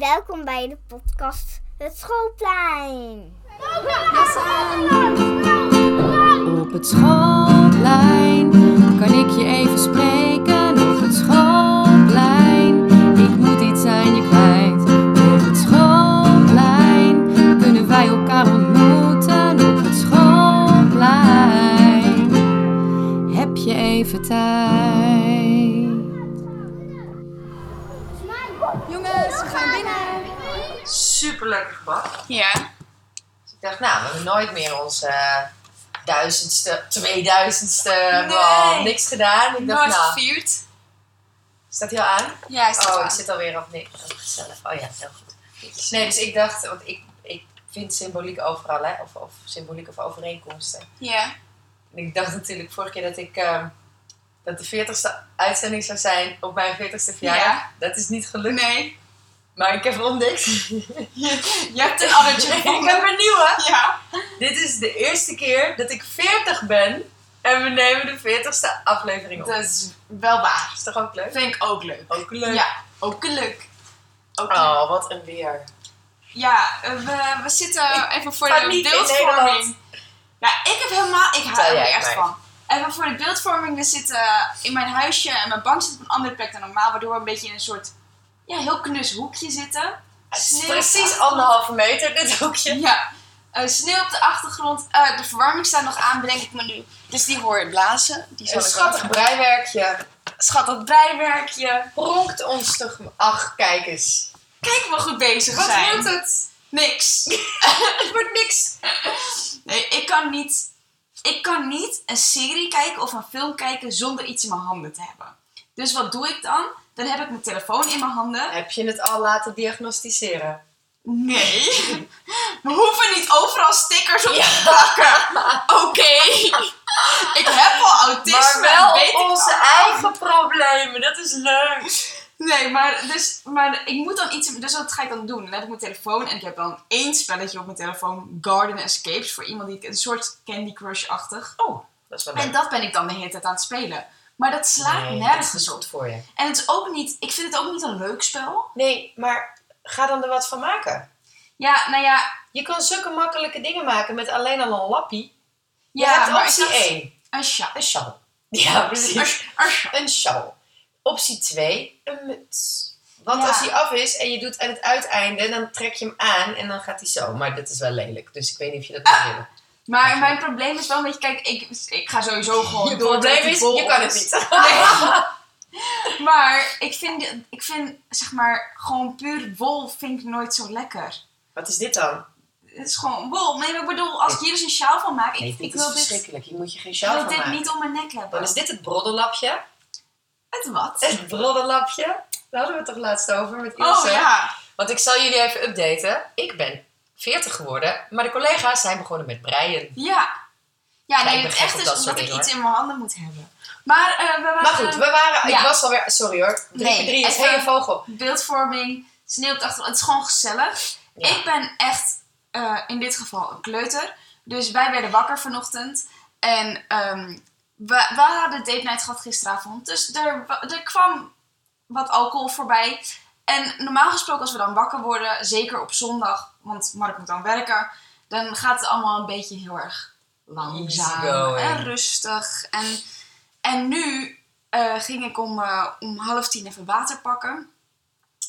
Welkom bij de podcast Het Schoolplein. Op het schoolplein kan ik je even spreken. Op het schoolplein, ik moet iets aan je kwijt. Op het schoolplein kunnen wij elkaar ontmoeten. Op het schoolplein heb je even tijd. Jongens, we gaan binnen. super lekker gebak. Ja. Dus ik dacht, nou, we hebben nooit meer onze eh, duizendste, tweeduizendste, Nee. gewoon niks gedaan. Ik dacht, nou, gevierd. is dat heel aan? Ja, oh, ik zit alweer op niks. Oh, gezellig. Oh ja, heel goed. Nee, dus ik dacht, want ik, ik vind symboliek overal, hè, of, of symboliek of overeenkomsten. Ja. En ik dacht natuurlijk vorige keer dat ik. ehm, dat de 40ste uitzending zou zijn op mijn 40ste verjaardag. Ja. Dat is niet gelukt. Nee. Maar ik heb ontdekt. Je hebt een addertje ik heb een nieuwe. Ja. Dit is de eerste keer dat ik 40 ben en we nemen de 40ste aflevering op. Dat Dat is wel waar. is toch ook leuk? Vind ik ook leuk. Ook leuk. Ja, ook leuk. Ook leuk. Oh, wat een weer. Ja, eh, we, we zitten even voor de Paniek in beeldvorming. Nederland. Ja, ik heb helemaal, ik hou Vertel er jij echt mij. van. Even voor de beeldvorming, we zitten in mijn huisje en mijn bank zit op een andere plek dan normaal, waardoor we een beetje in een soort, ja, heel knus hoekje zitten. Het is Sneeuw. precies anderhalve meter, dit hoekje. Ja, eh, sneeuw op de achtergrond. Eh, de verwarming staat nog aan, bedenk ik me nu. Dus die hoor je blazen. Die zal Een ik wel- schattig breiwerkje. schattig breiwerkje. Pronkt ons toch... Ach, kijk eens. Kijk maar goed bezig Wat zijn. wordt het? Niks. Het wordt niks. Nee, ik kan niet. Ik kan niet een serie kijken of een film kijken zonder iets in mijn handen te hebben. Dus wat doe ik dan? Dan heb ik mijn telefoon in mijn handen. Heb je het al laten diagnosticeren? Nee. We hoeven niet overal stickers op te plakken. Oké. Ik heb al autisme. maar wel en weet ik op onze al. eigen problemen. Dat is leuk. Nee, maar, dus, maar ik moet dan iets... Dus wat ga ik dan doen? Dan heb ik mijn telefoon en ik heb dan één spelletje op mijn telefoon. Garden Escapes. Voor iemand die ik... Een soort Candy Crush-achtig. Oh, dat is wel En dat ben ik dan de hele tijd aan het spelen. Maar dat slaat Nee, dat is nergens op. goed voor je. En het is ook niet, ik vind het ook niet een leuk spel. Nee, maar ga dan er wat van maken. Ja, nou ja, Je kan zulke makkelijke dingen maken met alleen al een lappie. Je ja hebt optie ik dacht- 1, Een sja. een sjaal. Ja, Een precies. sja- een sja- Een sjaal. Optie 2, een muts. Want Ja. als die af is en je doet aan het uiteinde, dan trek je hem aan en dan gaat hij zo. Maar dat is wel lelijk, dus ik weet niet of je dat moet willen. Maar mijn probleem is wel een beetje, kijk, ik, ik ga sowieso gewoon Het door tot probleem die is, bol je kan het is. niet. Nee. maar ik vind, ik vind, zeg maar, gewoon puur wol vind ik nooit zo lekker. Wat is dit dan? Het is gewoon wol. Nee, maar ik bedoel, als ik hier dus een sjaal van maak, ik, Nee, ik dit is wil dit, ik verschrikkelijk. Je moet je geen sjaal wil van dit maken. niet om mijn nek Dan hebben. is dit het broddelapje. Het wat? Het broddelapje. Daar hadden we het toch laatst over met Ilse. Oh ja. Want ik zal jullie even updaten. Ik ben 40 geworden, maar de collega's zijn begonnen met breien. Ja. Ja, ik nee, ben het gek echt op is dat omdat soort ik dingen, iets in mijn handen moet hebben. Maar eh, we waren... Maar goed, we waren. ja. Ik was alweer. Sorry hoor. 3 Nee, voor 3 is even- hele vogel. Beeldvorming, sneeuw op de achtergrond. Het is gewoon gezellig. Ja. Ik ben echt eh, in dit geval een kleuter. Dus wij werden wakker vanochtend. En ehm, we, we hadden date night gehad gisteravond. Dus er, wa- er kwam wat alcohol voorbij. En normaal gesproken als we dan wakker worden, zeker op zondag, want Mark moet dan werken, dan gaat het allemaal een beetje heel erg langzaam Easygoing. en rustig. En, en nu eh, ging ik om, eh, om half tien even water pakken.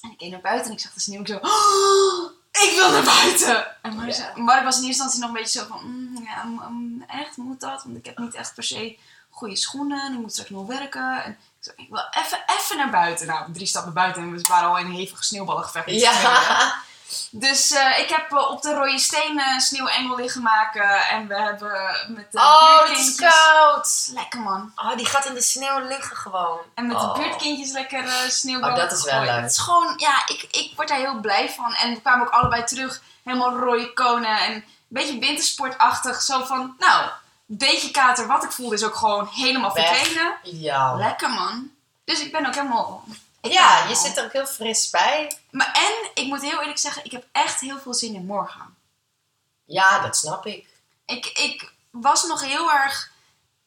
En ik ging naar buiten en ik zag de sneeuw. Ik zo, "Oh, ik wil naar buiten! En Mark, Oh, Ja. zei- Mark was in eerste instantie nog een beetje zo van, "Mm, ja, mm, mm, echt, moet dat? Want ik heb niet echt per se goede schoenen en ik moet straks nog werken. En ik, zo, ik wil even, even naar buiten. Nou, drie stappen buiten en we waren al in een hevige sneeuwballengevecht. met de sneeuw. Ja. Dus eh, ik heb eh, op de rode steen eh, sneeuwengel liggen maken. En we hebben met de Oh, het is buurtkindjes... koud. Lekker man. Oh, die gaat in de sneeuw liggen gewoon. En met Oh. de buurtkindjes lekker eh sneeuwballen Oh, dat is wel gegooid. leuk. Het is gewoon, ja, ik, ik word daar heel blij van. En we kwamen ook allebei terug, helemaal rode konen. En een beetje wintersportachtig. Zo van, nou, een beetje kater. Wat ik voelde is ook gewoon helemaal Weg. verdwenen. Ja. Lekker man. Dus ik ben ook helemaal... ik ben Ja, je helemaal- zit er ook heel fris bij. Maar en, ik moet heel eerlijk zeggen, ik heb echt heel veel zin in morgen. Ja, dat snap ik. Oh, Ik, ik was nog heel erg.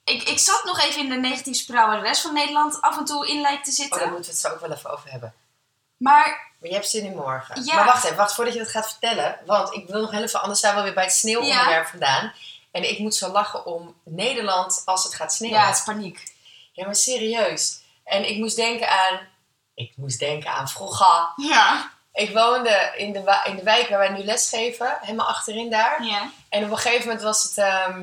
Ik, ik zat nog even in de negatieve spiraal waar de rest van Nederland af en toe in lijkt te Oh, zitten. daar moeten we het zo ook wel even over hebben. Maar Maar je hebt zin in morgen. Ja. Maar wacht even, wacht voordat je dat gaat vertellen. Want ik wil nog heel even, anders zijn we weer bij het sneeuwonderwerp vandaan. En ik moet zo lachen om Nederland als het gaat sneeuwen. Ja, het is paniek. Ja, maar serieus. En ik moest denken aan... Ik moest denken aan vroeger. Ja. Ik woonde in de, wa- in de wijk waar wij nu lesgeven. Helemaal achterin daar. Ja. En op een gegeven moment was het, ehm,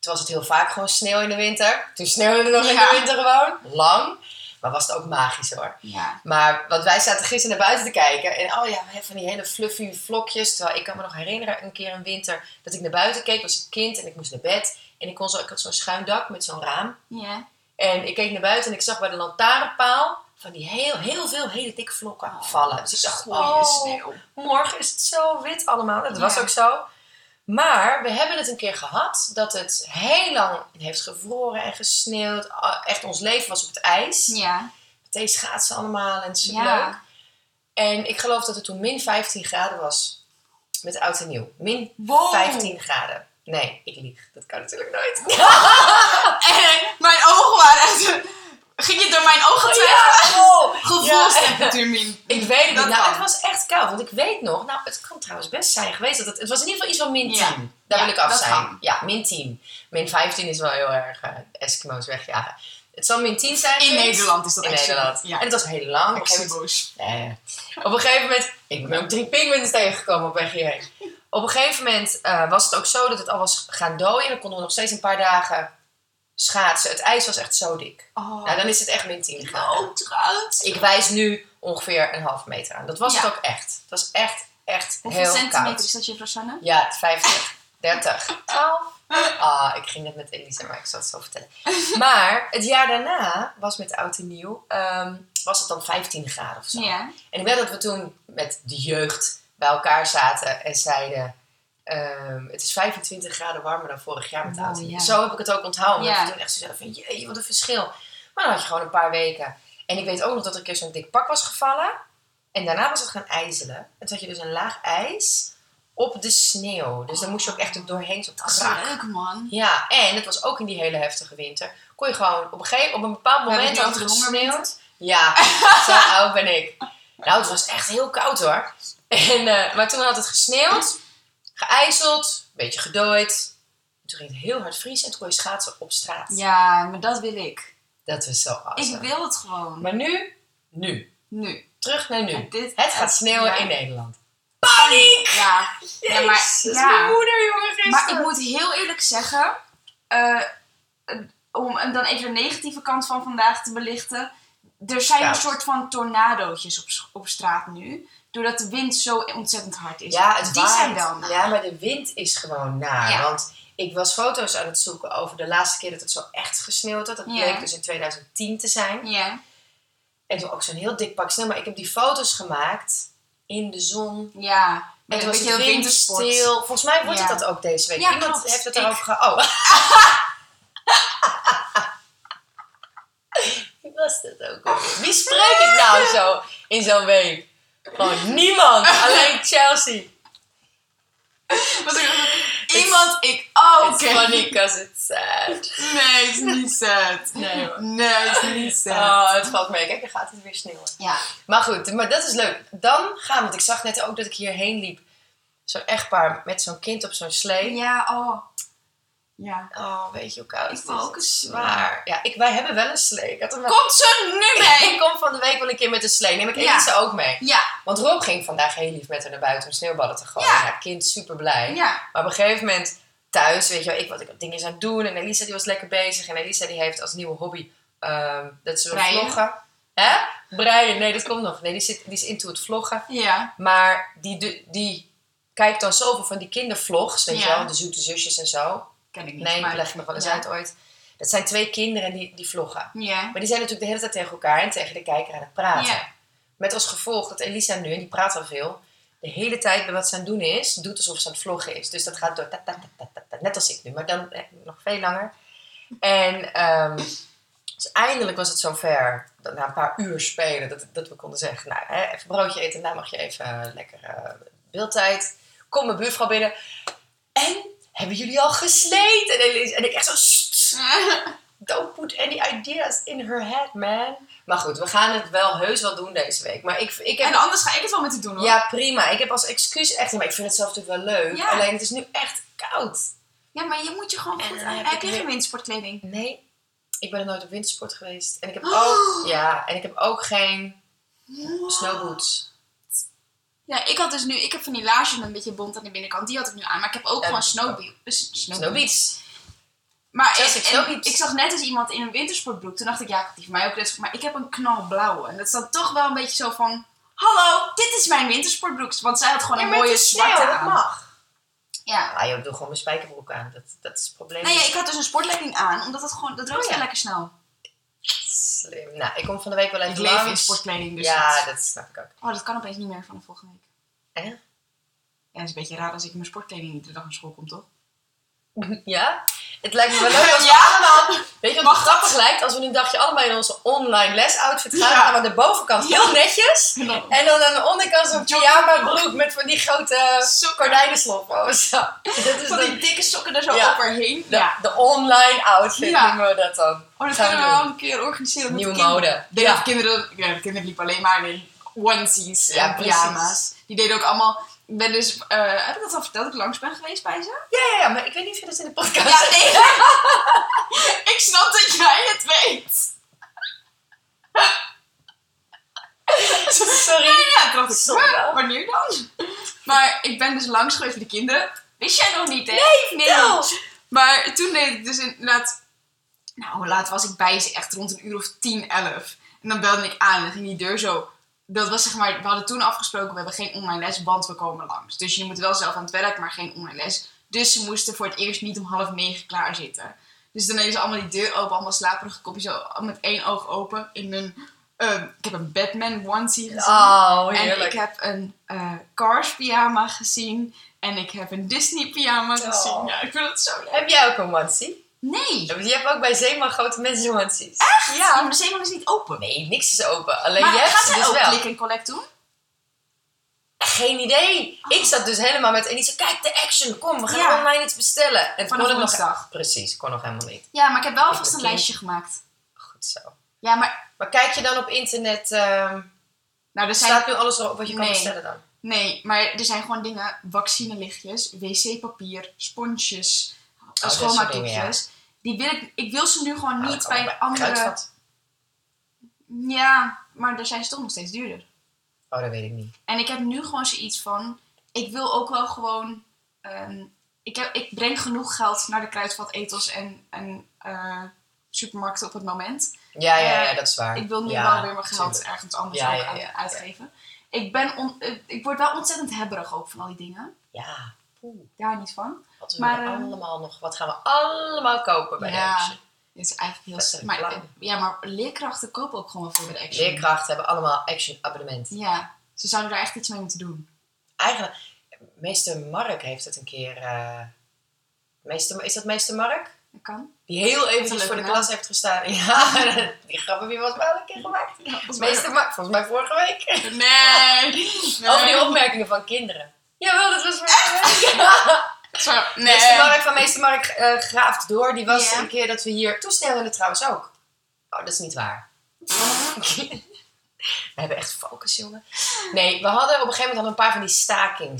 toen was het heel vaak gewoon sneeuw in de winter. Toen sneeuwde het nog in Ja. de winter gewoon. Lang. Maar was het ook magisch hoor. Ja. Maar want wij zaten gisteren naar buiten te kijken. En oh ja, we hebben van die hele fluffy vlokjes. Terwijl ik kan me nog herinneren een keer een winter dat ik naar buiten keek. was ik kind en ik moest naar bed. En ik, kon zo, ik had zo'n schuin dak met zo'n raam. Ja. En ik keek naar buiten en ik zag bij de lantaarnpaal van die heel, heel veel hele dikke vlokken Oh, vallen. Dus ik dacht, Goeie oh, sneeuw. morgen is het zo wit allemaal. Dat was Ja. ook zo. Maar we hebben het een keer gehad dat het heel lang heeft gevroren en gesneeuwd. Ah, Echt ons leven was op het ijs. Ja. Meteen schaatsen allemaal en superleuk. Ja. En ik geloof dat het toen min 15 graden was met oud en nieuw. Min Wow. 15 graden. Nee, ik lieg. Dat kan natuurlijk nooit. En mijn ogen waren echt... Ging je door mijn ogen twijfelen? Oh, Ja, wow. Gevoelstemperatuur, min. Ik weet het Dat niet. kan. Nou, het was echt koud. Want ik weet nog, nou, het kan trouwens best zijn geweest. Dat het, het was in ieder geval iets van min 10. Ja. Daar Ja, wil ik af dat zijn. kan. Ja, min 10. Min 15 is wel heel erg eh, Eskimo's wegjagen. Het zal min 10 zijn. In geweest. Nederland is dat In echt zo. Nederland. Ja. En het was heel lang. Op een gegeven moment, boos. Nee. Eh, op een gegeven moment ik ben ook drie pinguïns tegengekomen op weg hierheen. Op een gegeven moment eh, was het ook zo dat het al was gaan dooien. Dan konden we nog steeds een paar dagen schaatsen. Het ijs was echt zo dik. Oh, Nou, dan is het echt min 10 graden. oh trouwens. Ik wijs nu ongeveer een half meter aan. Dat was Ja. het ook echt. Het was echt, echt Hoeveel heel centimeter koud. is dat, juffrouw Sanne? Ja, 50, 30, 12. Ah, ik ging net met Elise, maar ik zal het zo vertellen. Maar het jaar daarna was met oud en nieuw, ehm, was het dan 15 graden of zo. Ja. En ik weet dat we toen met de jeugd bij elkaar zaten en zeiden... ehm, het is 25 graden warmer dan vorig jaar met Wow, oud en nieuw. ja. Zo heb ik het ook onthouden. omdat Ja. we toen echt zo zeiden van, jee, wat een verschil. Maar dan had je gewoon een paar weken. En ik weet ook nog dat er een keer zo'n dik pak was gevallen. En daarna was het gaan ijzelen. En toen had je dus een laag ijs op de sneeuw. Dus dan moest je ook echt er doorheen. Zo Dat is krak. leuk, man. Ja, en het was ook in die hele heftige winter. Kon je gewoon op een, gegeven, op een bepaald We hebben moment het nu had het over de gesneeuwd. Ja, zo oud ben ik. Nou, het was echt heel koud hoor. En, eh, maar toen had het gesneeuwd, geijzeld, een beetje gedooid. En Toen ging het heel hard vriezen en toen kon je schaatsen op straat. Ja, maar dat wil ik. Dat was zo awesome. Ik wil het gewoon. Maar nu, nu. Nu. Terug naar nu. Dit, Het gaat sneeuwen ja. in Nederland. Ja. Ja, maar- Jezus, ja. mijn moeder jongen gisteren. Maar ik moet heel eerlijk zeggen, eh, eh, om dan even de negatieve kant van vandaag te belichten. Er zijn Ja. een soort van tornadootjes op, s- op straat nu. Doordat de wind zo ontzettend hard is. Ja, het Die waait. zijn wel naar. Ja, maar de wind is gewoon naar. Ja. Want ik was foto's aan het zoeken over de laatste keer dat het zo echt gesneeuwd had. Dat Ja. bleek dus in 2010 te zijn. Ja. En toen ook zo'n heel dik pak sneeuw. Maar ik heb die foto's gemaakt in de zon. Ja. En Met toen een was beetje het heel wintersport. windstil. Volgens mij wordt Ja. het dat ook deze week. Ja, Iemand klopt. heeft het Ik- erover gehad. Oh. Wie was dat ook? alweer? Wie spreek ik nou zo in zo'n week? Gewoon niemand. Alleen Chelsea. Wat ik- Iemand, ik. Oh, It's oké. funny because it's sad. Nee, het is niet sad. Nee, hoor. Nee, het is niet sad. Oh, het valt mee. Kijk, dan gaat het weer sneeuwen. Ja. Maar goed, maar dat is leuk. Dan gaan we, want ik zag net ook dat ik hierheen liep. Zo'n echtpaar met zo'n kind op zo'n slee. Ja, oh. Ja. Oh, weet je hoe koud Ik het wil is? ook een slee. Zwaar. Ja, ik, wij hebben wel een slee. Ik, had hem wel- Komt ze nu ik mee? kom van de week wel een keer met een slee. Neem ik Ja. Elise ook mee. Ja. Want Rob ging vandaag heel lief met haar naar buiten om sneeuwballen te gooien. Ja. Ja, kind super blij. Ja. Maar op een gegeven moment thuis, weet je wel, ik wat ik wat dingen aan het doen. En Elisa die was lekker bezig. En Elisa die heeft als nieuwe hobby ehm, dat ze wil Breien. vloggen. Hè? Breien, nee, dat komt nog. Nee, die, zit, die is into het vloggen. Ja. Maar die, do- die kijkt dan zoveel van die kindervlogs, weet Ja. je wel, de zoete zusjes en zo. Ken ik niet. Nee, maar- leg ik nog wel eens Ja. uit ooit. Dat zijn twee kinderen die, die vloggen. Ja. Maar die zijn natuurlijk de hele tijd tegen elkaar en tegen de kijker aan het praten. Ja. Met als gevolg dat Elisa nu, en die praat wel veel, de hele tijd bij wat ze aan het doen is, doet alsof ze aan het vloggen is. Dus dat gaat door, ta, ta, ta, ta, ta, ta, net als ik nu, maar dan eh, nog veel langer. En ehm, dus eindelijk was het zover, dat na een paar uur spelen, dat, dat we konden zeggen, nou, hè, even broodje eten, daarna mag je even eh, lekker eh, beeldtijd. Kom mijn buurvrouw binnen. En, hebben jullie al gesleed? En, Elisa- en ik echt zo, "Sst, sst, Don't put any ideas in her head, man. Maar goed, we gaan het wel heus wel doen deze week. Maar ik, ik heb En anders ga ik het wel met u doen hoor. Ja, prima. Ik heb als excuus echt... Maar ik vind het zelf natuurlijk wel leuk. Ja. Alleen het is nu echt koud. Ja, maar je moet je gewoon En goed dan aan. heb Heb ik je weer- geen wintersportkleding? Nee, ik ben er nooit op wintersport geweest. En ik heb Oh. ook... Ja, en ik heb ook geen snowboots. Ja, ik had dus nu, ik heb van die laarsjes met een beetje bont aan de binnenkant, die had ik nu aan. Maar ik heb ook Ja, gewoon dat is snowbee. dus snow- Snowbeats. Maar Zelfs en- ik en snowbeats. ik zag net eens iemand in een wintersportbroek. Toen dacht ik, ja, ik had die voor mij ook dus. Maar ik heb een knalblauwe. En dat is dan toch wel een beetje zo van, hallo, dit is mijn wintersportbroek. Want zij had gewoon een mooie zwarte aan. mag. Ja. Ah joh, ik doe gewoon mijn spijkerbroek aan. Dat, dat is het probleem. Nee, ja, ik had dus een sportlegging aan, omdat het gewoon, dat droogt Oh, ja. heel lekker snel. Slim. Nou, ik kom van de week wel even Ik leef in langs. sportkleding, dus ja, dat- dat snap ik ook. Oh, dat kan opeens niet meer vanaf volgende week. Hè? Ja, dat is een beetje raar als ik in mijn sportkleding iedere dag naar school kom, toch? Ja? Het lijkt me wel leuk als we Ja? allemaal... Weet je wat Mag het grappig lijkt? Als we nu een dagje allemaal in onze online lesoutfit gaan, Ja. gaan we aan de bovenkant heel Ja. netjes. En dan- En dan aan de onderkant zo'n pyjama broek met van die grote Sokken. gordijnensloppen of zo. Dat is Van die dan dikke sokken er zo Ja. overheen. de, de online outfit Ja. noemen we dat dan. Oh, dat kunnen Gaan we we doen. wel een keer organiseren. met Nieuwe de kinderen. mode. Ik denk Ja. dat de kinderen, ja, de kinderen liepen alleen maar in onesies Ja, en precies. pyjama's. Die deden ook allemaal... Ik ben dus... eh, heb ik dat al verteld dat ik langs ben geweest bij ze? Ja, ja, ja, maar ik weet niet of je dat in de podcast Ja, nee. ik snap dat jij het weet. Sorry. Ja, toen dacht ik, Zonde. huh, wanneer dan? Maar ik ben dus langs geweest voor de kinderen. Wist jij nog niet, hè? Nee, vertel. Maar toen deed ik dus inderdaad... Nou, hoe laat was ik bij ze? Echt rond een uur of tien, elf. En dan belde ik aan en dan ging die deur zo... Dat was zeg maar... We hadden toen afgesproken, we hebben geen online les, want we komen langs. Dus je moet wel zelf aan het werk, maar geen online les. Dus ze moesten voor het eerst niet om half negen klaar zitten. Dus dan deden ze allemaal die deur open, allemaal slaperige kopjes zo met één oog open. In een... ehm, ik heb een Batman onesie gezien. Oh, En heerlijk. ik heb een eh, Cars pyjama gezien. En ik heb een Disney pyjama Oh. gezien. Ja, ik vind dat zo leuk. Heb jij ook een onesie? Nee! Je hebt ook bij Zeeman grote mensen onesies. Echt? Ja, maar de zeeman is niet open. Nee, niks is open. Alleen maar je hebt gaat ze zij dus ook wel. click en collect doen? Geen idee. Ik zat dus helemaal met Elisa. Kijk, de action. Kom, we gaan Oh. Ja. online iets bestellen. En Van kon de het nog... woensdag. Precies, kon nog helemaal niet. Ja, maar ik heb wel Ik vast een begin. lijstje gemaakt. Goed zo. Ja, maar... Maar kijk je dan op internet... ehm, Nou, er zijn... Staat nu alles erop wat je kan Nee. bestellen dan? Nee, maar er zijn gewoon dingen. Vaccinelichtjes, wc-papier, sponsjes, Oh, dat soort schoonmaakdoekjes. Die wil ik... Ik wil ze nu gewoon Nou, niet dat kan bij wel. een andere... Kruidvat? Ja, maar daar zijn ze toch nog steeds duurder. Oh, dat weet ik niet. En ik heb nu gewoon zoiets van, ik wil ook wel gewoon, ehm, ik, heb, ik breng genoeg geld naar de kruidvat, etels en, en eh, supermarkten op het moment. Ja, ja, ja, Eh, dat is waar. Ik wil nu Ja, wel weer mijn geld tuurlijk. ergens anders Ja, ook ja, aan- ja, uitgeven. Ik, ben on- eh, ik word wel ontzettend hebberig ook van al die dingen. Ja, poeh. Daar niet van. Wat, we Maar, er ehm, allemaal nog, wat gaan we allemaal kopen Oh, bij de Action? dit is eigenlijk heel Dat is stom. Maar, reclame. eh, ja, maar leerkrachten kopen ook gewoon wel voor de action. Leerkrachten hebben allemaal Action abonnement. Ja, ze zouden daar echt iets mee moeten doen. Eigenlijk, meester Mark heeft het een keer... eh, meester, is dat meester Mark? Dat kan. Die heel een eventjes leuke voor de naam. klas heeft gestaan. Ja, die grap heb je wel eens wel een keer gemaakt. Meester Mark, volgens mij vorige week. Nee! nee. Over die opmerkingen van kinderen. Jawel, dat was vorige week. Zo, nee. Meester Mark van Meester Mark eh, graaft door. Die was Ja. een keer dat we hier... Toen snelden we het trouwens ook. Oh, dat is niet waar. we hebben echt focus, jongen. Nee, we hadden op een gegeven moment hadden we een paar van die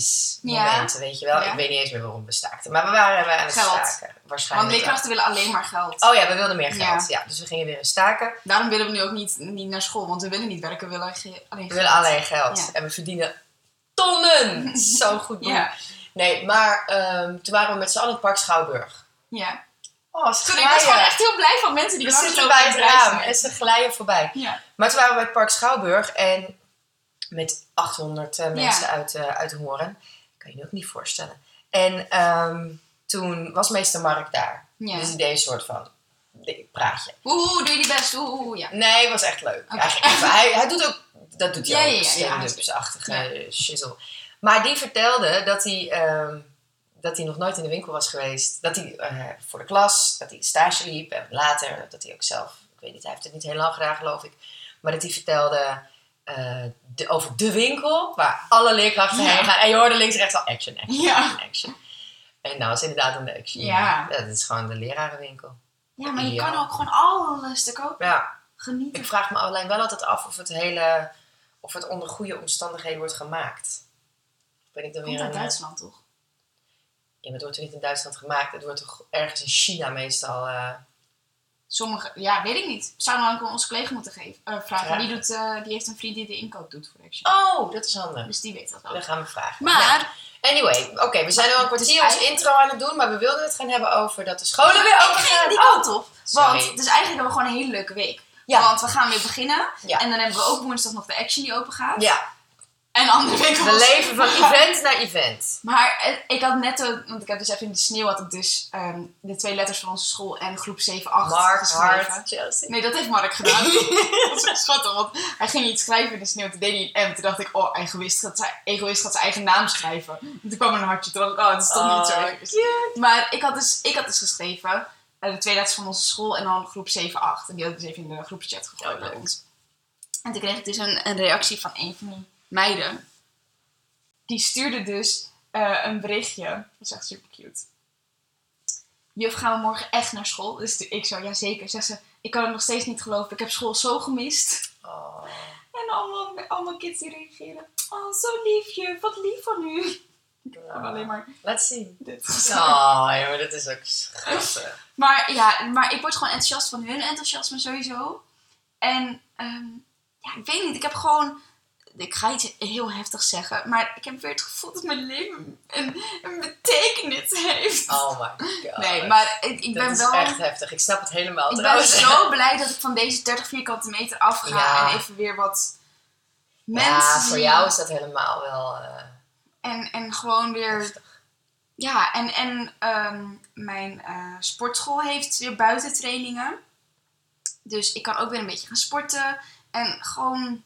stakingsmomenten, weet je wel. Ja. Ik weet niet eens meer waarom we staakten. Maar we waren eh, aan het Geld. staken. Want Waarschijnlijk wel. leerkrachten willen alleen maar geld. Oh ja, we wilden meer geld. Ja. dus we gingen weer eens staken. Daarom willen we nu ook niet, niet naar school, want we willen niet werken, we willen ge- alleen We geld. willen alleen geld. Ja. En we verdienen tonnen. Zo'n goed doel. Ja, Nee, maar ehm, toen waren we met z'n allen in het park Schouwburg. ja. Oh, ze Toen ik was gewoon echt heel blij van mensen die We langs zitten lopen bij en het prijzen. raam en ze glijden voorbij. Ja. Maar toen waren we bij het Park Schouwburg en met 800 eh, mensen Ja. uit, eh uit Hoorn. Kan je je ook niet voorstellen. En ehm, toen was meester Mark daar. Ja. Dus die deed een soort van praatje. Oeh, doe je die best, oeh, oeh, ja. Nee, het was echt leuk. Oké. Eigenlijk. Maar Hij, hij doet ook, dat doet hij Ja, ook, ja, ja, ja, stand-ups-achtige ja. eh, shizzle. Maar die vertelde dat hij, ehm, dat hij nog nooit in de winkel was geweest. Dat hij eh, voor de klas, dat hij stage liep en later dat hij ook zelf, ik weet niet, hij heeft het niet heel lang gedaan geloof ik. Maar dat hij vertelde eh, de- over de winkel waar alle leerkrachten Ja. heen gaan. En je hoorde links en rechts al action, action, Ja. action, action. En nou is inderdaad een action. Ja. Dat is gewoon de lerarenwinkel. Ja, maar je Ja. kan ook gewoon alles te koop Ja, genieten. ik vraag me alleen wel altijd af of het hele, of het onder goede omstandigheden wordt gemaakt. Ben ik dan Komt weer uit een, eh, Duitsland, toch? Ja, maar het wordt er niet in Duitsland gemaakt. Het wordt toch ergens in China meestal. eh, Sommige, ja, weet ik niet. Zouden we ook aan onze collega moeten geven, eh, vragen. Ja. Die, doet, eh, die heeft een vriend die de inkoop doet voor Action. Oh, dat is handig. Dus die weet dat wel. Dan gaan we vragen. Maar, Ja. Anyway, oké, we zijn al een Het is kwartier ons eigenlijk- intro aan het doen, maar we wilden het gaan hebben over dat de scholen ik weer open ging gaan. die kant op. eh, oh. sorry. Want, dus eigenlijk hebben we gewoon een hele leuke week. Ja. Want we gaan weer beginnen. Ja. En dan hebben we ook woensdag nog de Action die open gaat. Ja, En andere week we ons- leven van event naar event. Maar eh, ik had net, een- want ik heb dus even in de sneeuw, had ik dus ehm, de twee letters van onze school en groep 7-8 Mark, geschreven. Hart, Chelsea. Nee, dat heeft Mark gedaan. dat is wel schattig, want hij ging iets schrijven in de sneeuw. Toen deed hij een M. Toen dacht ik, oh, egoïst gaat zijn, egoïst gaat zijn eigen naam schrijven. En toen kwam er een hartje. Toen dacht ik, oh, dat stond niet zo. Oh, leuk. Maar ik had dus, ik had dus geschreven, eh, de twee letters van onze school en dan groep 7-8. En die had ik dus even in de groepschat gegooid Oh, leuk. bij ons. En toen kreeg ik dus een, een reactie van een van die meiden. Die stuurde dus eh, een berichtje. Dat is echt super cute juf, gaan we morgen echt naar school? Dus toen ik zo, ja zeker. Zegt ze, ik kan het nog steeds niet geloven. Ik heb school zo gemist. Oh, En allemaal, allemaal kids die reageren. Oh, zo lief juf, wat lief van u. Ik heb gewoon alleen maar Laat zien. dit Oh, jongen, dat is ook schattig. Maar ja, maar ik word gewoon enthousiast van hun enthousiasme sowieso. En ehm, ja, ik weet niet, ik heb gewoon... Ik ga iets heel heftigs zeggen, maar ik heb weer het gevoel dat mijn leven een, een betekenis heeft. Oh my god. nee, maar ik, ik dat ben is wel... echt heftig. Ik snap het helemaal Ik ben trouwens. zo blij dat ik van deze 30 vierkante meter af ga Ja. en even weer wat mensen Ja, zie. voor jou is dat helemaal wel... eh, En, en gewoon weer... Ja, en, en ehm, mijn eh, sportschool heeft weer buitentrainingen. Dus ik kan ook weer een beetje gaan sporten. En gewoon...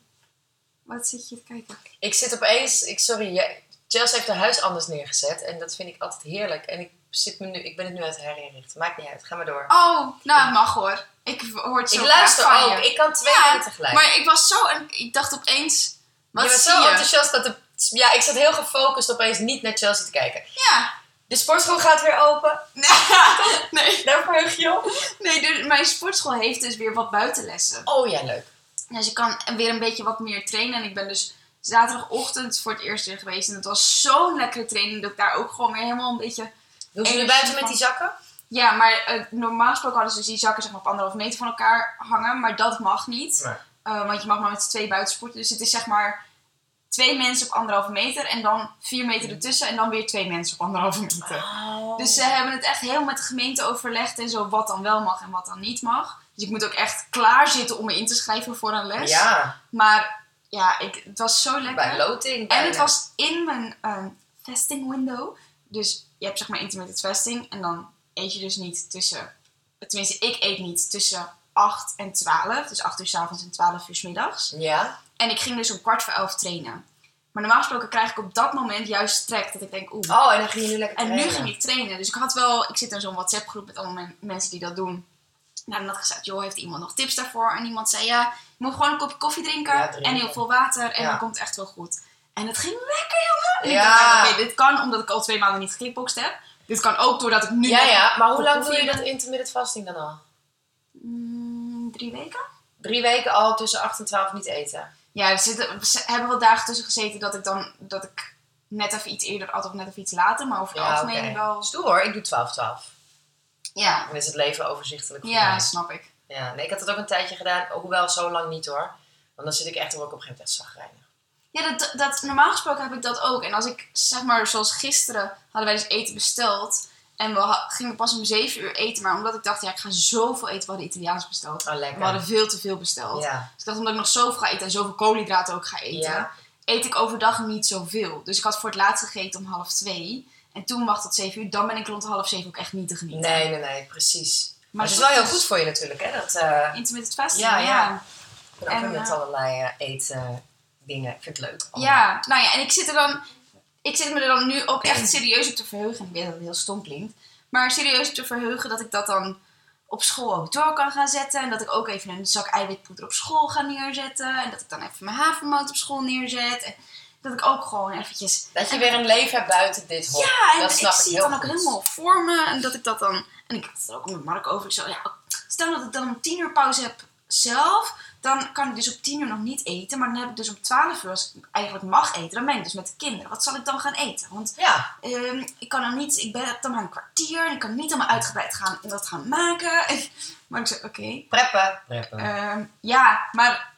Wat zit je te kijken? Ik zit opeens, ik, sorry, jij- Chelsea heeft haar huis anders neergezet en dat vind ik altijd heerlijk. En ik, zit me nu, ik ben het nu aan het herinrichten, maakt niet uit, ga maar door. Oh, nou het mag hoor. Ik hoor het zo ik graag luister van ook, je. ik kan twee Ja, dingen tegelijk. Maar ik was zo... en Ik dacht opeens... Wat je was zie zo je? enthousiast dat de, ja, ik zat heel gefocust opeens niet naar Chelsea te kijken. Ja. De sportschool gaat weer open, nee. daar verheug je op. Nee, dus mijn sportschool heeft dus weer wat buitenlessen. Oh ja, leuk. Dus ik kan weer een beetje wat meer trainen. En ik ben dus zaterdagochtend voor het eerst weer geweest. En het was zo'n lekkere training dat ik daar ook gewoon weer helemaal een beetje... Doen ze nu Energie buiten met van- die zakken? Ja, maar eh, normaal gesproken hadden ze dus die zakken zeg maar, op anderhalf meter van elkaar hangen. Maar dat mag niet. Nee. Eh, want je mag maar met z'n twee buiten sporten. Dus het is zeg maar twee mensen op anderhalve meter. En dan vier Mm. meter ertussen. En dan weer twee mensen op anderhalve meter. Oh. Dus ze hebben het echt heel met de gemeente overlegd en zo wat dan wel mag en wat dan niet mag. Dus ik moet ook echt klaar zitten om me in te schrijven voor een les. Ja, Maar ja, ik, het was zo lekker. bij loting. en het bijna. was in mijn ehm vesting window. Dus je hebt zeg maar intermittent vesting en dan eet je dus niet tussen... Tenminste, ik eet niet tussen 8 en 12. Dus 8 uur s avonds en 12 uur s middags. Ja, En ik ging dus om kwart voor 11 trainen. Maar normaal gesproken krijg ik op dat moment juist strek. Dat ik denk, oeh, oh en dan ging je nu lekker en nu trainen. ging ik trainen. Dus ik had wel, ik zit in zo'n WhatsApp groep met allemaal men- mensen die dat doen. Nou, dan had ik gezegd, joh, heeft iemand nog tips daarvoor? En iemand zei, ja, je moet gewoon een kopje koffie drinken, Ja, drinken. en heel veel water en Ja. dan komt het echt wel goed. En het ging lekker, jongen! En ik Ja. dacht, nou, oké, dit kan omdat ik al twee maanden niet geklikboxt heb. Dit kan ook doordat ik nu... Ja, nog- ja, maar hoe lang doe Koffie. je dat intermittent fasting dan al? Mm, drie weken? Drie weken al tussen 8 en 12 niet eten. Ja, er zitten, ze hebben wel dagen tussen gezeten dat ik dan, dat ik net even iets eerder at of net even iets later, maar over het Ja, algemeen oké. wel... Stoer hoor, ik doe 12, 12. Ja, Dan is het leven overzichtelijk voor ja, mij. snap ik. Ja, nee, ik had het ook een tijdje gedaan, hoewel zo lang niet hoor. Want dan zit ik echt dan word ik op een gegeven moment echt zagrijnig. Ja, dat, dat, normaal gesproken heb ik dat ook. En als ik, zeg maar, zoals gisteren hadden wij dus eten besteld. En we ha- gingen pas om 7 uur eten. Maar omdat ik dacht, ja, ik ga zoveel eten. We hadden Italiaans besteld. Oh, We lekker. hadden veel te veel besteld. Ja. Dus ik dacht, omdat ik nog zoveel ga eten en zoveel koolhydraten ook ga eten. Ja. Eet ik overdag niet zoveel. Dus ik had voor het laatst gegeten om half 2. En toen wacht tot 7 uur. Dan ben ik rond half 7 ook echt niet te genieten. Nee, nee, nee, precies. Maar, Maar het is dat wel heel is- goed voor je natuurlijk, hè? Dat eh Intermittent fasting, Ja, ja. ja. ja. ik ben ook En, weer met eh, allerlei eh, eten dingen. Ik vind het leuk. allemaal. Ja, nou ja, en ik zit er dan. Ik zit me er dan nu ook echt serieus op te verheugen. Ik weet dat het heel stom klinkt. Maar serieus op te verheugen dat ik dat dan op school ook door kan gaan zetten. En dat ik ook even een zak eiwitpoeder op school ga neerzetten. En dat ik dan even mijn havermout op school neerzet. En dat ik ook gewoon eventjes Dat je weer een leven hebt buiten dit hok. ja, en dat snap ik, ik, zie heel het dan ook goed. helemaal voor me. En dat ik dat dan. En ik had het er ook met Mark over. Ik zo, ja, stel dat ik dan om 10 uur pauze heb zelf, dan kan ik dus op 10 uur nog niet eten. Maar dan heb ik dus om 12 uur, als ik eigenlijk mag eten, dan ben ik dus met de kinderen. Wat zal ik dan gaan eten? Want Ja, ehm, ik kan dan niet, ik ben, heb dan maar een kwartier en ik kan niet allemaal uitgebreid gaan en dat gaan maken. maar ik zei, oké. preppen. Preppen. Ehm, ja, maar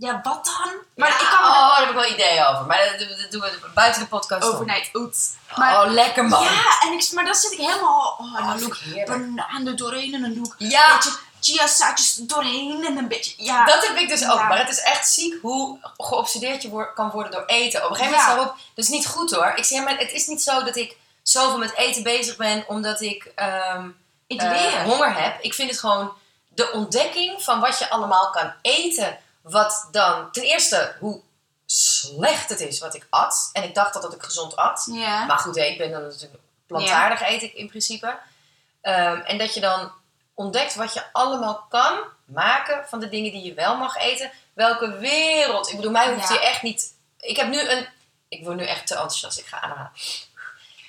ja, wat dan? Maar Ja, ik kan oh, me daar heb ik wel ideeën over. Maar dat, dat- dat doen we buiten de podcast. om. overnight oats. Maar, oh, lekker man. ja, en ik, maar dan zit ik helemaal. Oh, en Oh, dan vind doe ik ik heerlijk. banaan er doorheen en dan doe ik een Ja, beetje chiazaadjes er doorheen en een beetje. Ja, dat heb ik dus ook. Ja. Maar het is echt ziek hoe geobsedeerd je wo- kan worden door eten. Op een gegeven Ja. moment daarop, dat is niet goed hoor. Ik zeg, maar het is niet zo dat ik zoveel met eten bezig ben omdat ik ehm, ik eh, leer. honger heb. Ik vind het gewoon de ontdekking van wat je allemaal kan eten. Wat dan, ten eerste, hoe slecht het is wat ik at. En ik dacht al dat ik gezond at. Ja. Maar goed, hè, ik ben dan natuurlijk plantaardig eet ik in principe. Ehm, en dat je dan ontdekt wat je allemaal kan maken van de dingen die je wel mag eten. Welke wereld. Ik bedoel, mij hoeft Ja. je echt niet. Ik heb nu een. Ik word nu echt te enthousiast. Ik ga ademhalen.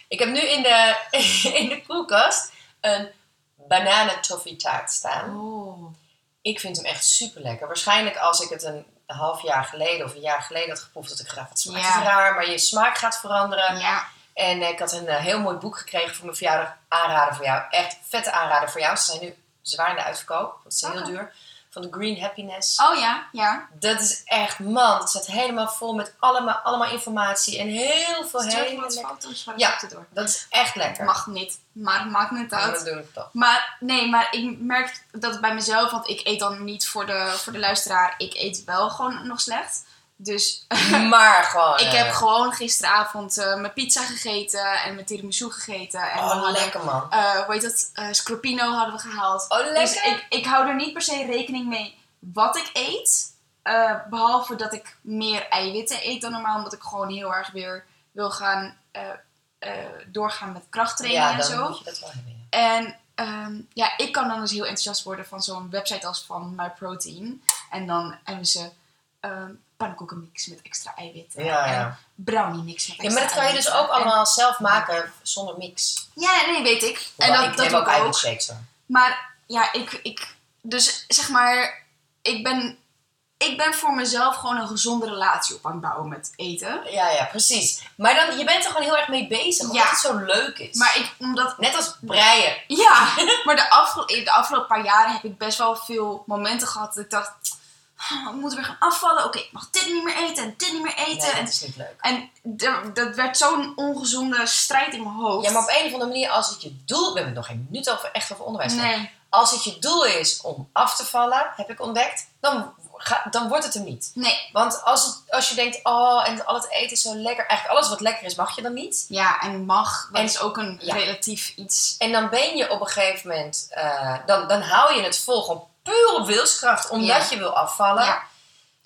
Ik heb nu in de, in de koelkast een bananentoffietaart staan. Oh. Ik vind hem echt super lekker. Waarschijnlijk als ik het een half jaar geleden of een jaar geleden had geproefd, had ik gedacht, wat smaakt Ja. het raar, maar je smaak gaat veranderen. Ja. En eh, ik had een eh, heel mooi boek gekregen voor mijn verjaardag. Aanrader voor jou. Echt vette aanrader voor jou. Ze zijn nu zwaar in de uitverkoop. Want ze zijn heel Oké. duur. Van de Green Happiness. Oh ja, ja. Dat is echt, man. Het staat helemaal vol met allemaal, allemaal informatie. En heel veel Stuur ik hele wat lekker- foto's van Ja. ja. door. Dat is echt lekker. Mag niet, maar maakt niet Maar uit. we doen het toch. Maar nee, maar ik merk dat bij mezelf, want ik eet dan niet voor de, voor de luisteraar. Ik eet wel gewoon nog slecht. Dus Maar gewoon. ik eh, heb gewoon gisteravond eh, mijn pizza gegeten en mijn tiramisu gegeten. En we Oh, hadden, lekker man. eh, hoe heet dat? eh scroppino hadden we gehaald. Oh, lekker. Dus ik, ik hou er niet per se rekening mee wat ik eet. Eh, behalve dat ik meer eiwitten eet dan normaal, omdat ik gewoon heel erg weer wil gaan eh, eh, doorgaan met krachttraining ja, en dan zo. moet je dat wel hebben. ja. En ehm, ja, ik kan dan dus heel enthousiast worden van zo'n website als van MyProtein. En dan hebben ze ehm pannenkoekenmix met extra eiwit. Ja, ja. En brownie mix met extra Ja, maar dat kan je eiwit. dus ook En- allemaal zelf maken zonder mix. Ja, nee, weet ik. En Hoewel, dat, ik dat neem doe ook ik ook. eiwitshakes hoor. Maar ja, ik, ik... Dus zeg maar, ik ben... Ik ben voor mezelf gewoon een gezonde relatie op aan het bouwen met eten. Ja, ja, precies. Maar dan, je bent er gewoon heel erg mee bezig, omdat Ja. het zo leuk is. Maar ik, omdat Net als breien. Ja, maar de, afgel- de afgelopen paar jaren heb ik best wel veel momenten gehad dat ik dacht, "Ah, we moeten weer gaan afvallen. Oké, ik mag dit niet meer eten en dit niet meer Nee, eten. dat en is niet leuk. en d- dat werd zo'n ongezonde strijd in mijn hoofd. Ja, maar op een of andere manier, als het je doel... We hebben het nog geen minuut over, echt over onderwijs. gehad. Nee, Als het je doel is om af te vallen, heb ik ontdekt, dan, ga- dan wordt het hem niet. nee. Want als, het, als je denkt, oh, en al het eten is zo lekker. Eigenlijk alles wat lekker is, mag je dan niet. Ja, en mag, dat En- is ook een ja. relatief iets. En dan ben je op een gegeven moment... eh, dan, dan hou je het vol, gewoon puur op wilskracht. Omdat Ja. je wil afvallen. Oh, Ja.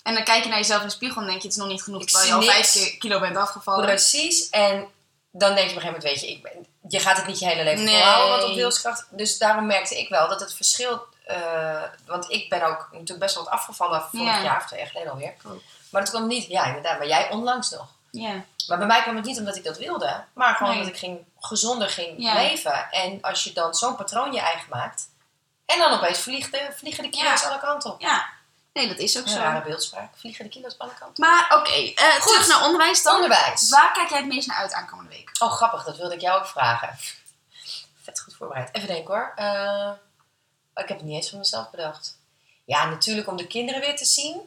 En dan kijk je naar jezelf in de spiegel en denk je, het is nog niet genoeg. Ik terwijl je al zie vijf niks. keer- kilo bent afgevallen. Precies. En dan denk je op een gegeven moment, weet je, ik ben, je gaat het niet je hele leven Nee. volhouden, want op wilskracht. Dus daarom merkte ik wel dat het verschil, eh, want ik ben ook natuurlijk best wel wat afgevallen vorig Ja. jaar of twee jaar geleden alweer. Ook. Maar dat kwam niet, ja inderdaad, maar jij onlangs nog. Ja. Maar bij mij kwam het niet omdat ik dat wilde, maar gewoon Nee. omdat ik ging, gezonder ging Ja. leven. En als je dan zo'n patroon je eigen maakt, en dan opeens vliegen de, vliegen de kilo's alle kanten op. ja. Nee, dat is ook Een zo. rare beeldspraak, vliegen de kilo's alle kanten op. Maar oké, eh, terug naar onderwijs dan. Onderwijs. Waar kijk jij het meest naar uit aankomende week? Oh, grappig, dat wilde ik jou ook vragen. Vet goed voorbereid. Even denken hoor. Eh, ik heb het niet eens van mezelf bedacht. Ja, natuurlijk om de kinderen weer te zien.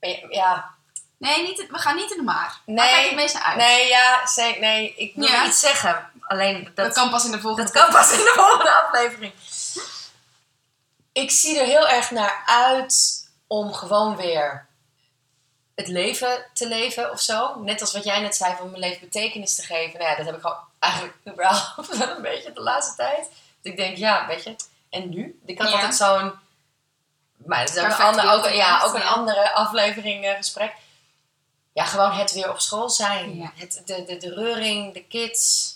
Maar ja, ja, Nee, niet, we gaan niet in de maar. Nee. Waar Nee. kijk je het meest naar uit? nee, ja, ze- nee, ik wil Ja. iets zeggen. Alleen dat, dat, dat, kan, kan pas in de volgende. pas in de volgende aflevering. Ik zie er heel erg naar uit om gewoon weer het leven te leven of zo. Net als wat jij net zei, van mijn leven betekenis te geven. Nou ja, dat heb ik gewoon eigenlijk überhaupt wel een beetje de laatste tijd. Dat ik denk, ja, weet je, en nu? Ik had Ja. altijd zo'n... Maar dat is ook een, Perfect andere, ook, ja, weekend, ook een ja. andere aflevering eh, gesprek. Ja, gewoon het weer op school zijn. Ja. Het, de, de, de reuring, de kids.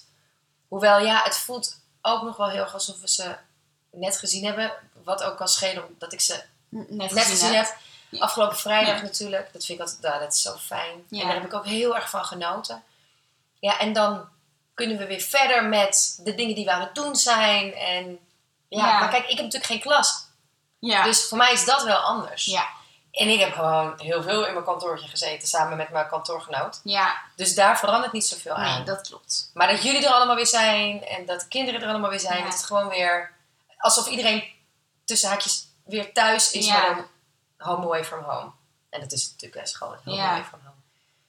Hoewel, ja, het voelt ook nog wel heel erg alsof we ze net gezien hebben. Wat ook kan schelen, omdat ik ze Net net hè? gezien heb. Afgelopen vrijdag Ja. natuurlijk. Dat vind ik altijd, nou, dat is zo fijn. Ja. En daar heb ik ook heel erg van genoten. Ja, en dan kunnen we weer verder met de dingen die we aan het doen zijn. En Ja, Ja. maar kijk, ik heb natuurlijk geen klas. Ja. Dus voor mij is dat wel anders. ja. En ik heb gewoon heel veel in mijn kantoortje gezeten samen met mijn kantoorgenoot. Ja. Dus daar verandert niet zoveel aan. Nee, dat klopt. Maar dat jullie er allemaal weer zijn en dat de kinderen er allemaal weer zijn, Ja. het is gewoon weer alsof iedereen tussen haakjes weer thuis is, Ja. maar dan home away from home. En dat is natuurlijk best gewoon home Ja. away from home.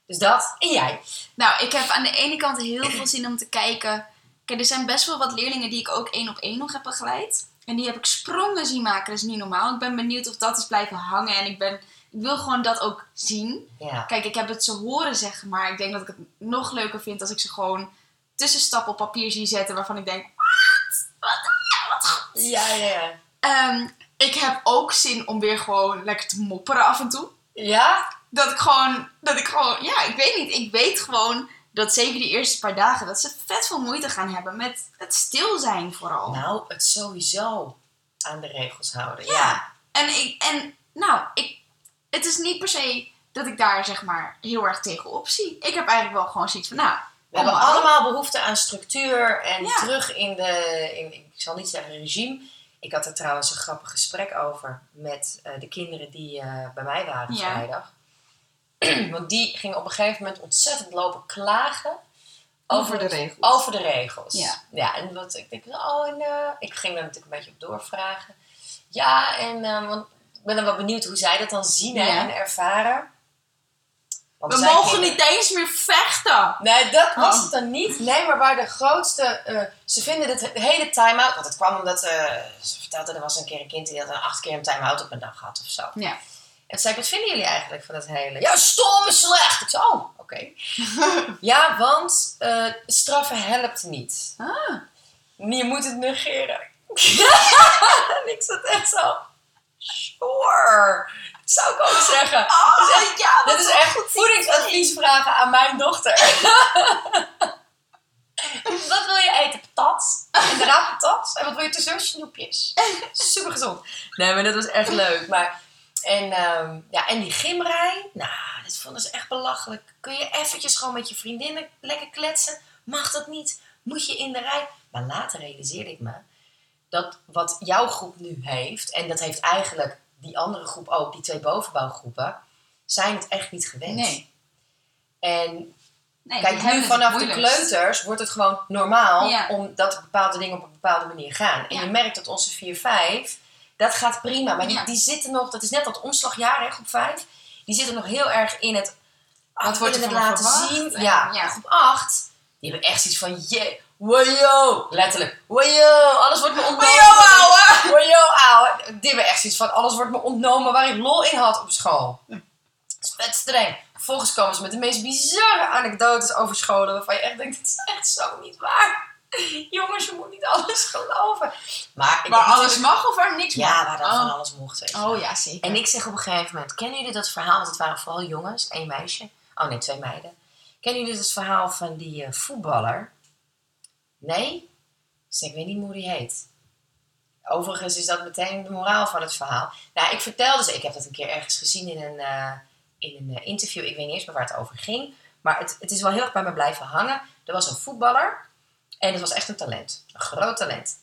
Dus dat en jij. Nou, ik heb aan de ene kant heel veel zin om te kijken. Kijk, er zijn best wel wat leerlingen die ik ook één op één nog heb begeleid. En die heb ik sprongen zien maken. Dat is niet normaal. Ik ben benieuwd of dat is blijven hangen. En ik, ben, ik wil gewoon dat ook zien. Ja. Kijk, ik heb het ze horen zeggen, maar ik denk dat ik het nog leuker vind als ik ze gewoon tussenstappen op papier zie zetten waarvan ik denk, wat? Wat? Wat? goed." Ja, ja, ja. Ehm, ik heb ook zin om weer gewoon lekker te mopperen af en toe. Ja? Dat ik gewoon, dat ik gewoon, ja, ik weet niet. Ik weet gewoon dat zeker die eerste paar dagen, dat ze vet veel moeite gaan hebben met het stil zijn vooral. Nou, het sowieso aan de regels houden. Ja. Ja. En ik, en nou, ik, het is niet per se dat ik daar zeg maar heel erg tegenop zie. Ik heb eigenlijk wel gewoon zoiets van, nou, We hebben kom maar op. allemaal behoefte aan structuur en Ja. terug in de, in, ik zal niet zeggen regime. Ik had er trouwens een grappig gesprek over met eh, de kinderen die eh, bij mij waren Ja. vrijdag. Want die gingen op een gegeven moment ontzettend lopen klagen Over de het- regels. Over de regels. Ja. en wat ik denk, oh, en, eh, ik ging daar natuurlijk een beetje op doorvragen. Ja, en eh, want ik ben dan wel benieuwd hoe zij dat dan zien hè, Ja. en ervaren. Want We zij mogen gingen- niet eens meer vechten. Nee, dat was Oh. het dan niet. Nee, maar waar de grootste... eh, ze vinden dat de hele time-out... Want het kwam omdat... eh, ze vertelde, er was een keer een kind die had een acht keer een time-out op een dag gehad of zo. En Ja. toen zei ik, wat vinden jullie eigenlijk van dat hele... Ja, stom is slecht! Ik zei, oh, oké. ja, want eh, straffen helpt niet. Ah. Je moet het negeren. en ik zat echt zo... Sure. Dat zou ik ook zeggen. Oh, Dat is echt- ja, dit is echt voedingsadvies vragen aan mijn dochter. wat wil je eten? Patat? Inderdaad, patat. En wat wil je tussendoor? Snoepjes. Super gezond. Nee, maar dat was echt leuk. Maar, en, ehm, ja, en die gymrij, nou, dat vonden ze echt belachelijk. Kun je eventjes gewoon met je vriendinnen lekker kletsen? Mag dat niet? Moet je in de rij? Maar later realiseerde ik me dat wat jouw groep nu heeft, en dat heeft eigenlijk die andere groep ook, die twee bovenbouwgroepen, zijn het echt niet gewend. Nee. En Nee, kijk, die hebben nu het vanaf de moeilijkst. kleuters wordt het gewoon normaal Ja. omdat bepaalde dingen op een bepaalde manier gaan. En Ja. je merkt dat onze 4-5, dat gaat prima. Maar die, Ja. die zitten nog, dat is net dat omslagjaar, hè, groep 5. Die zitten nog heel erg in het, ah, Wat we wordt er willen van me laten verwacht? zien. En- ja. ja. groep 8, die hebben echt zoiets van, jee, wajo, letterlijk, wajo, alles wordt me ontnomen. Wajo, ouwe! Wajo, ouwe. ah, Die hebben echt zoiets van, alles wordt me ontnomen waar ik lol in had op school. Dat is vet streng. Vervolgens komen ze met de meest bizarre anekdotes over scholen. Waarvan je echt denkt, dit is echt zo niet waar. Jongens, je moet niet alles geloven. Maar ik Waar heb alles natuurlijk- mag of waar niks Ja, mag. waar dan Oh. van alles mocht. weet je wel. Oh ja, zeker. En ik zeg op een gegeven moment, kennen jullie dat verhaal? Want het waren vooral jongens, één meisje. Oh nee, twee meiden. Kennen jullie het verhaal van die eh, voetballer? Nee? Dus ik weet niet hoe die heet. Overigens is dat meteen de moraal van het verhaal. Nou, ik vertelde ze, ik heb dat een keer ergens gezien in een, eh, in een eh, interview. Ik weet niet eens meer waar het over ging. Maar het, het is wel heel erg bij me blijven hangen. Er was een voetballer en dat was echt een talent. Een groot talent.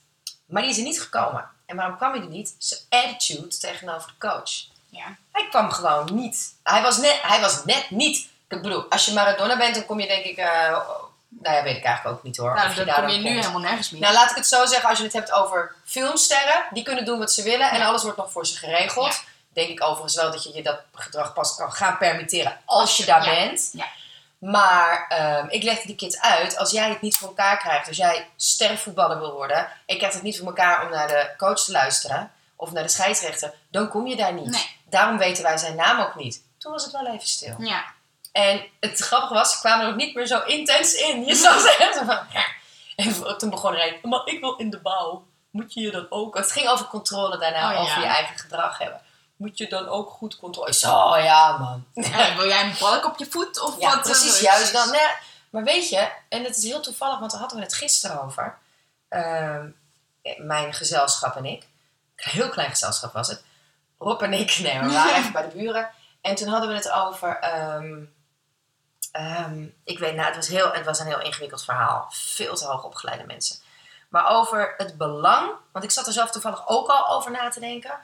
Maar die is er niet gekomen. En waarom kwam hij er niet? Zijn attitude tegenover de coach. Ja. Hij kwam gewoon niet. Hij was net, hij was net niet. Ik bedoel, als je Maradona bent, dan kom je denk ik... eh, nou ja, weet ik eigenlijk ook niet hoor. Of Nou, dan daar kom je nu komt. helemaal nergens meer. Nou, laat ik het zo zeggen. Als je het hebt over filmsterren, die kunnen doen wat ze willen. En alles wordt nog voor ze geregeld. Ja. Denk ik overigens wel dat je je dat gedrag pas kan gaan permitteren als je daar Ja. bent. Ja. Maar ehm, ik legde die kids uit, als jij het niet voor elkaar krijgt, als jij sterrenvoetballer wil worden, en krijgt het niet voor elkaar om naar de coach te luisteren of naar de scheidsrechter, dan kom je daar niet. Nee. Daarom weten wij zijn naam ook niet. Toen was het wel even stil. ja. En het grappige was, ze kwamen er ook niet meer zo intens in. Je zag ze echt zo van... "Ja." En toen begon er een, maar ik wil in de bouw. Moet je je dan ook... Het ging over controle daarna, Oh, ja. over je eigen gedrag hebben. Moet je dan ook goed controle... Ik zei, oh ja man. En Eh, wil jij een balk op je voet? Of Ja, wat? eh, precies, juist dan. Nou ja, maar weet je, en het is heel toevallig, want daar hadden we het gisteren over. Ehm, mijn gezelschap en ik. Heel klein gezelschap was het. Rob en ik, nee, we waren even bij de buren. En toen hadden we het over. ehm, ehm, ik weet, nou, het was, heel, het was een heel ingewikkeld verhaal. Veel te hoog opgeleide mensen. maar over het belang. Want ik zat er zelf toevallig ook al over na te denken.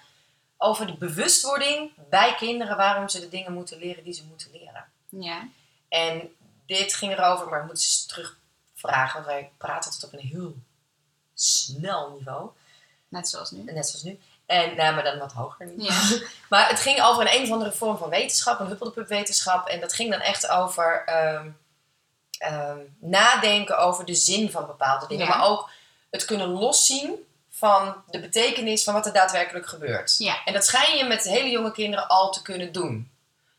Over de bewustwording bij kinderen waarom ze de dingen moeten leren die ze moeten leren. Ja. En dit ging erover, maar ik moet eens terugvragen, want wij praten altijd op een heel snel niveau. Net zoals nu. Net zoals nu. En, nou, maar dan wat hoger nu. Ja. Maar het ging over een, een of andere vorm van wetenschap, een huppeldepup wetenschap. En dat ging dan echt over ehm, ehm, nadenken over de zin van bepaalde dingen. Ja. Maar ook het kunnen loszien van de betekenis van wat er daadwerkelijk gebeurt. Ja. En dat schijn je met hele jonge kinderen al te kunnen doen.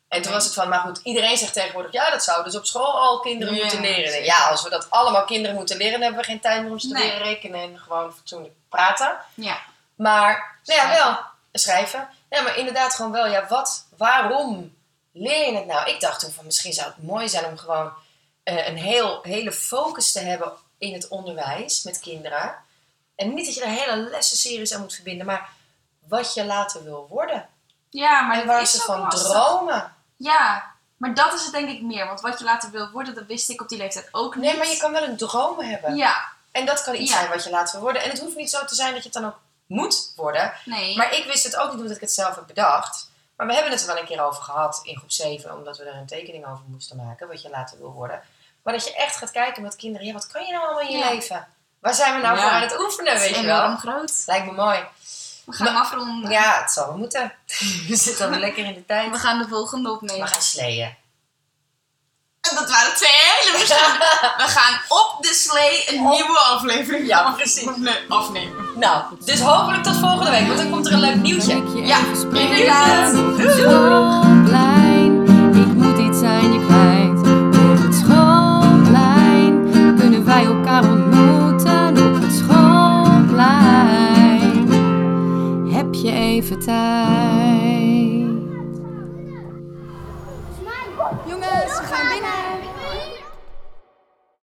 En toen Oké. was het van, maar goed, iedereen zegt tegenwoordig... ja, dat zouden dus op school al kinderen Ja, moeten leren. En zeker. Ja, als we dat allemaal kinderen moeten leren... dan hebben we geen tijd meer om ze te Nee. leren rekenen... en gewoon fatsoenlijk praten. Ja. Maar, nou ja, Schrijven. wel. Schrijven. Ja, maar inderdaad gewoon wel. Ja, wat, waarom leer je het nou? Ik dacht toen van misschien zou het mooi zijn om gewoon eh, een heel, hele focus te hebben in het onderwijs met kinderen. En niet dat je er hele lessenseries aan moet verbinden, maar wat je later wil worden. Ja, maar en dat waar is ze ook van lastig. dromen. Ja, maar dat is het denk ik meer. Want wat je later wil worden, dat wist ik op die leeftijd ook niet. Nee, maar je kan wel een droom hebben. Ja, En dat kan iets Ja. zijn wat je later wil worden. En het hoeft niet zo te zijn dat je het dan ook moet worden. nee. Maar ik wist het ook niet omdat ik het zelf heb bedacht. Maar we hebben het er wel een keer over gehad in groep 7, omdat we er een tekening over moesten maken, wat je later wil worden. Maar dat je echt gaat kijken met kinderen, ja, wat kan je nou allemaal in je Ja. leven? Waar zijn we nou Ja. voor aan het oefenen, weet je wel? enorm groot. Lijkt me mooi. We gaan hem afronden. Ja, het zal wel moeten. we zitten al lekker in de tijd. We gaan de volgende We opnemen. gaan sleeën. En dat waren twee hele verschillende. We gaan op de slee een Op- nieuwe aflevering Ja, van- precies. Nee, afnemen. Nou, dus hopelijk tot volgende week, want dan komt er een leuk nieuwtje. Ja, inderdaad. schoolplein. Ik moet iets aan je kwijt. Op het schoolplein kunnen wij elkaar ontmoeten. Op het schoolplein heb je even tijd.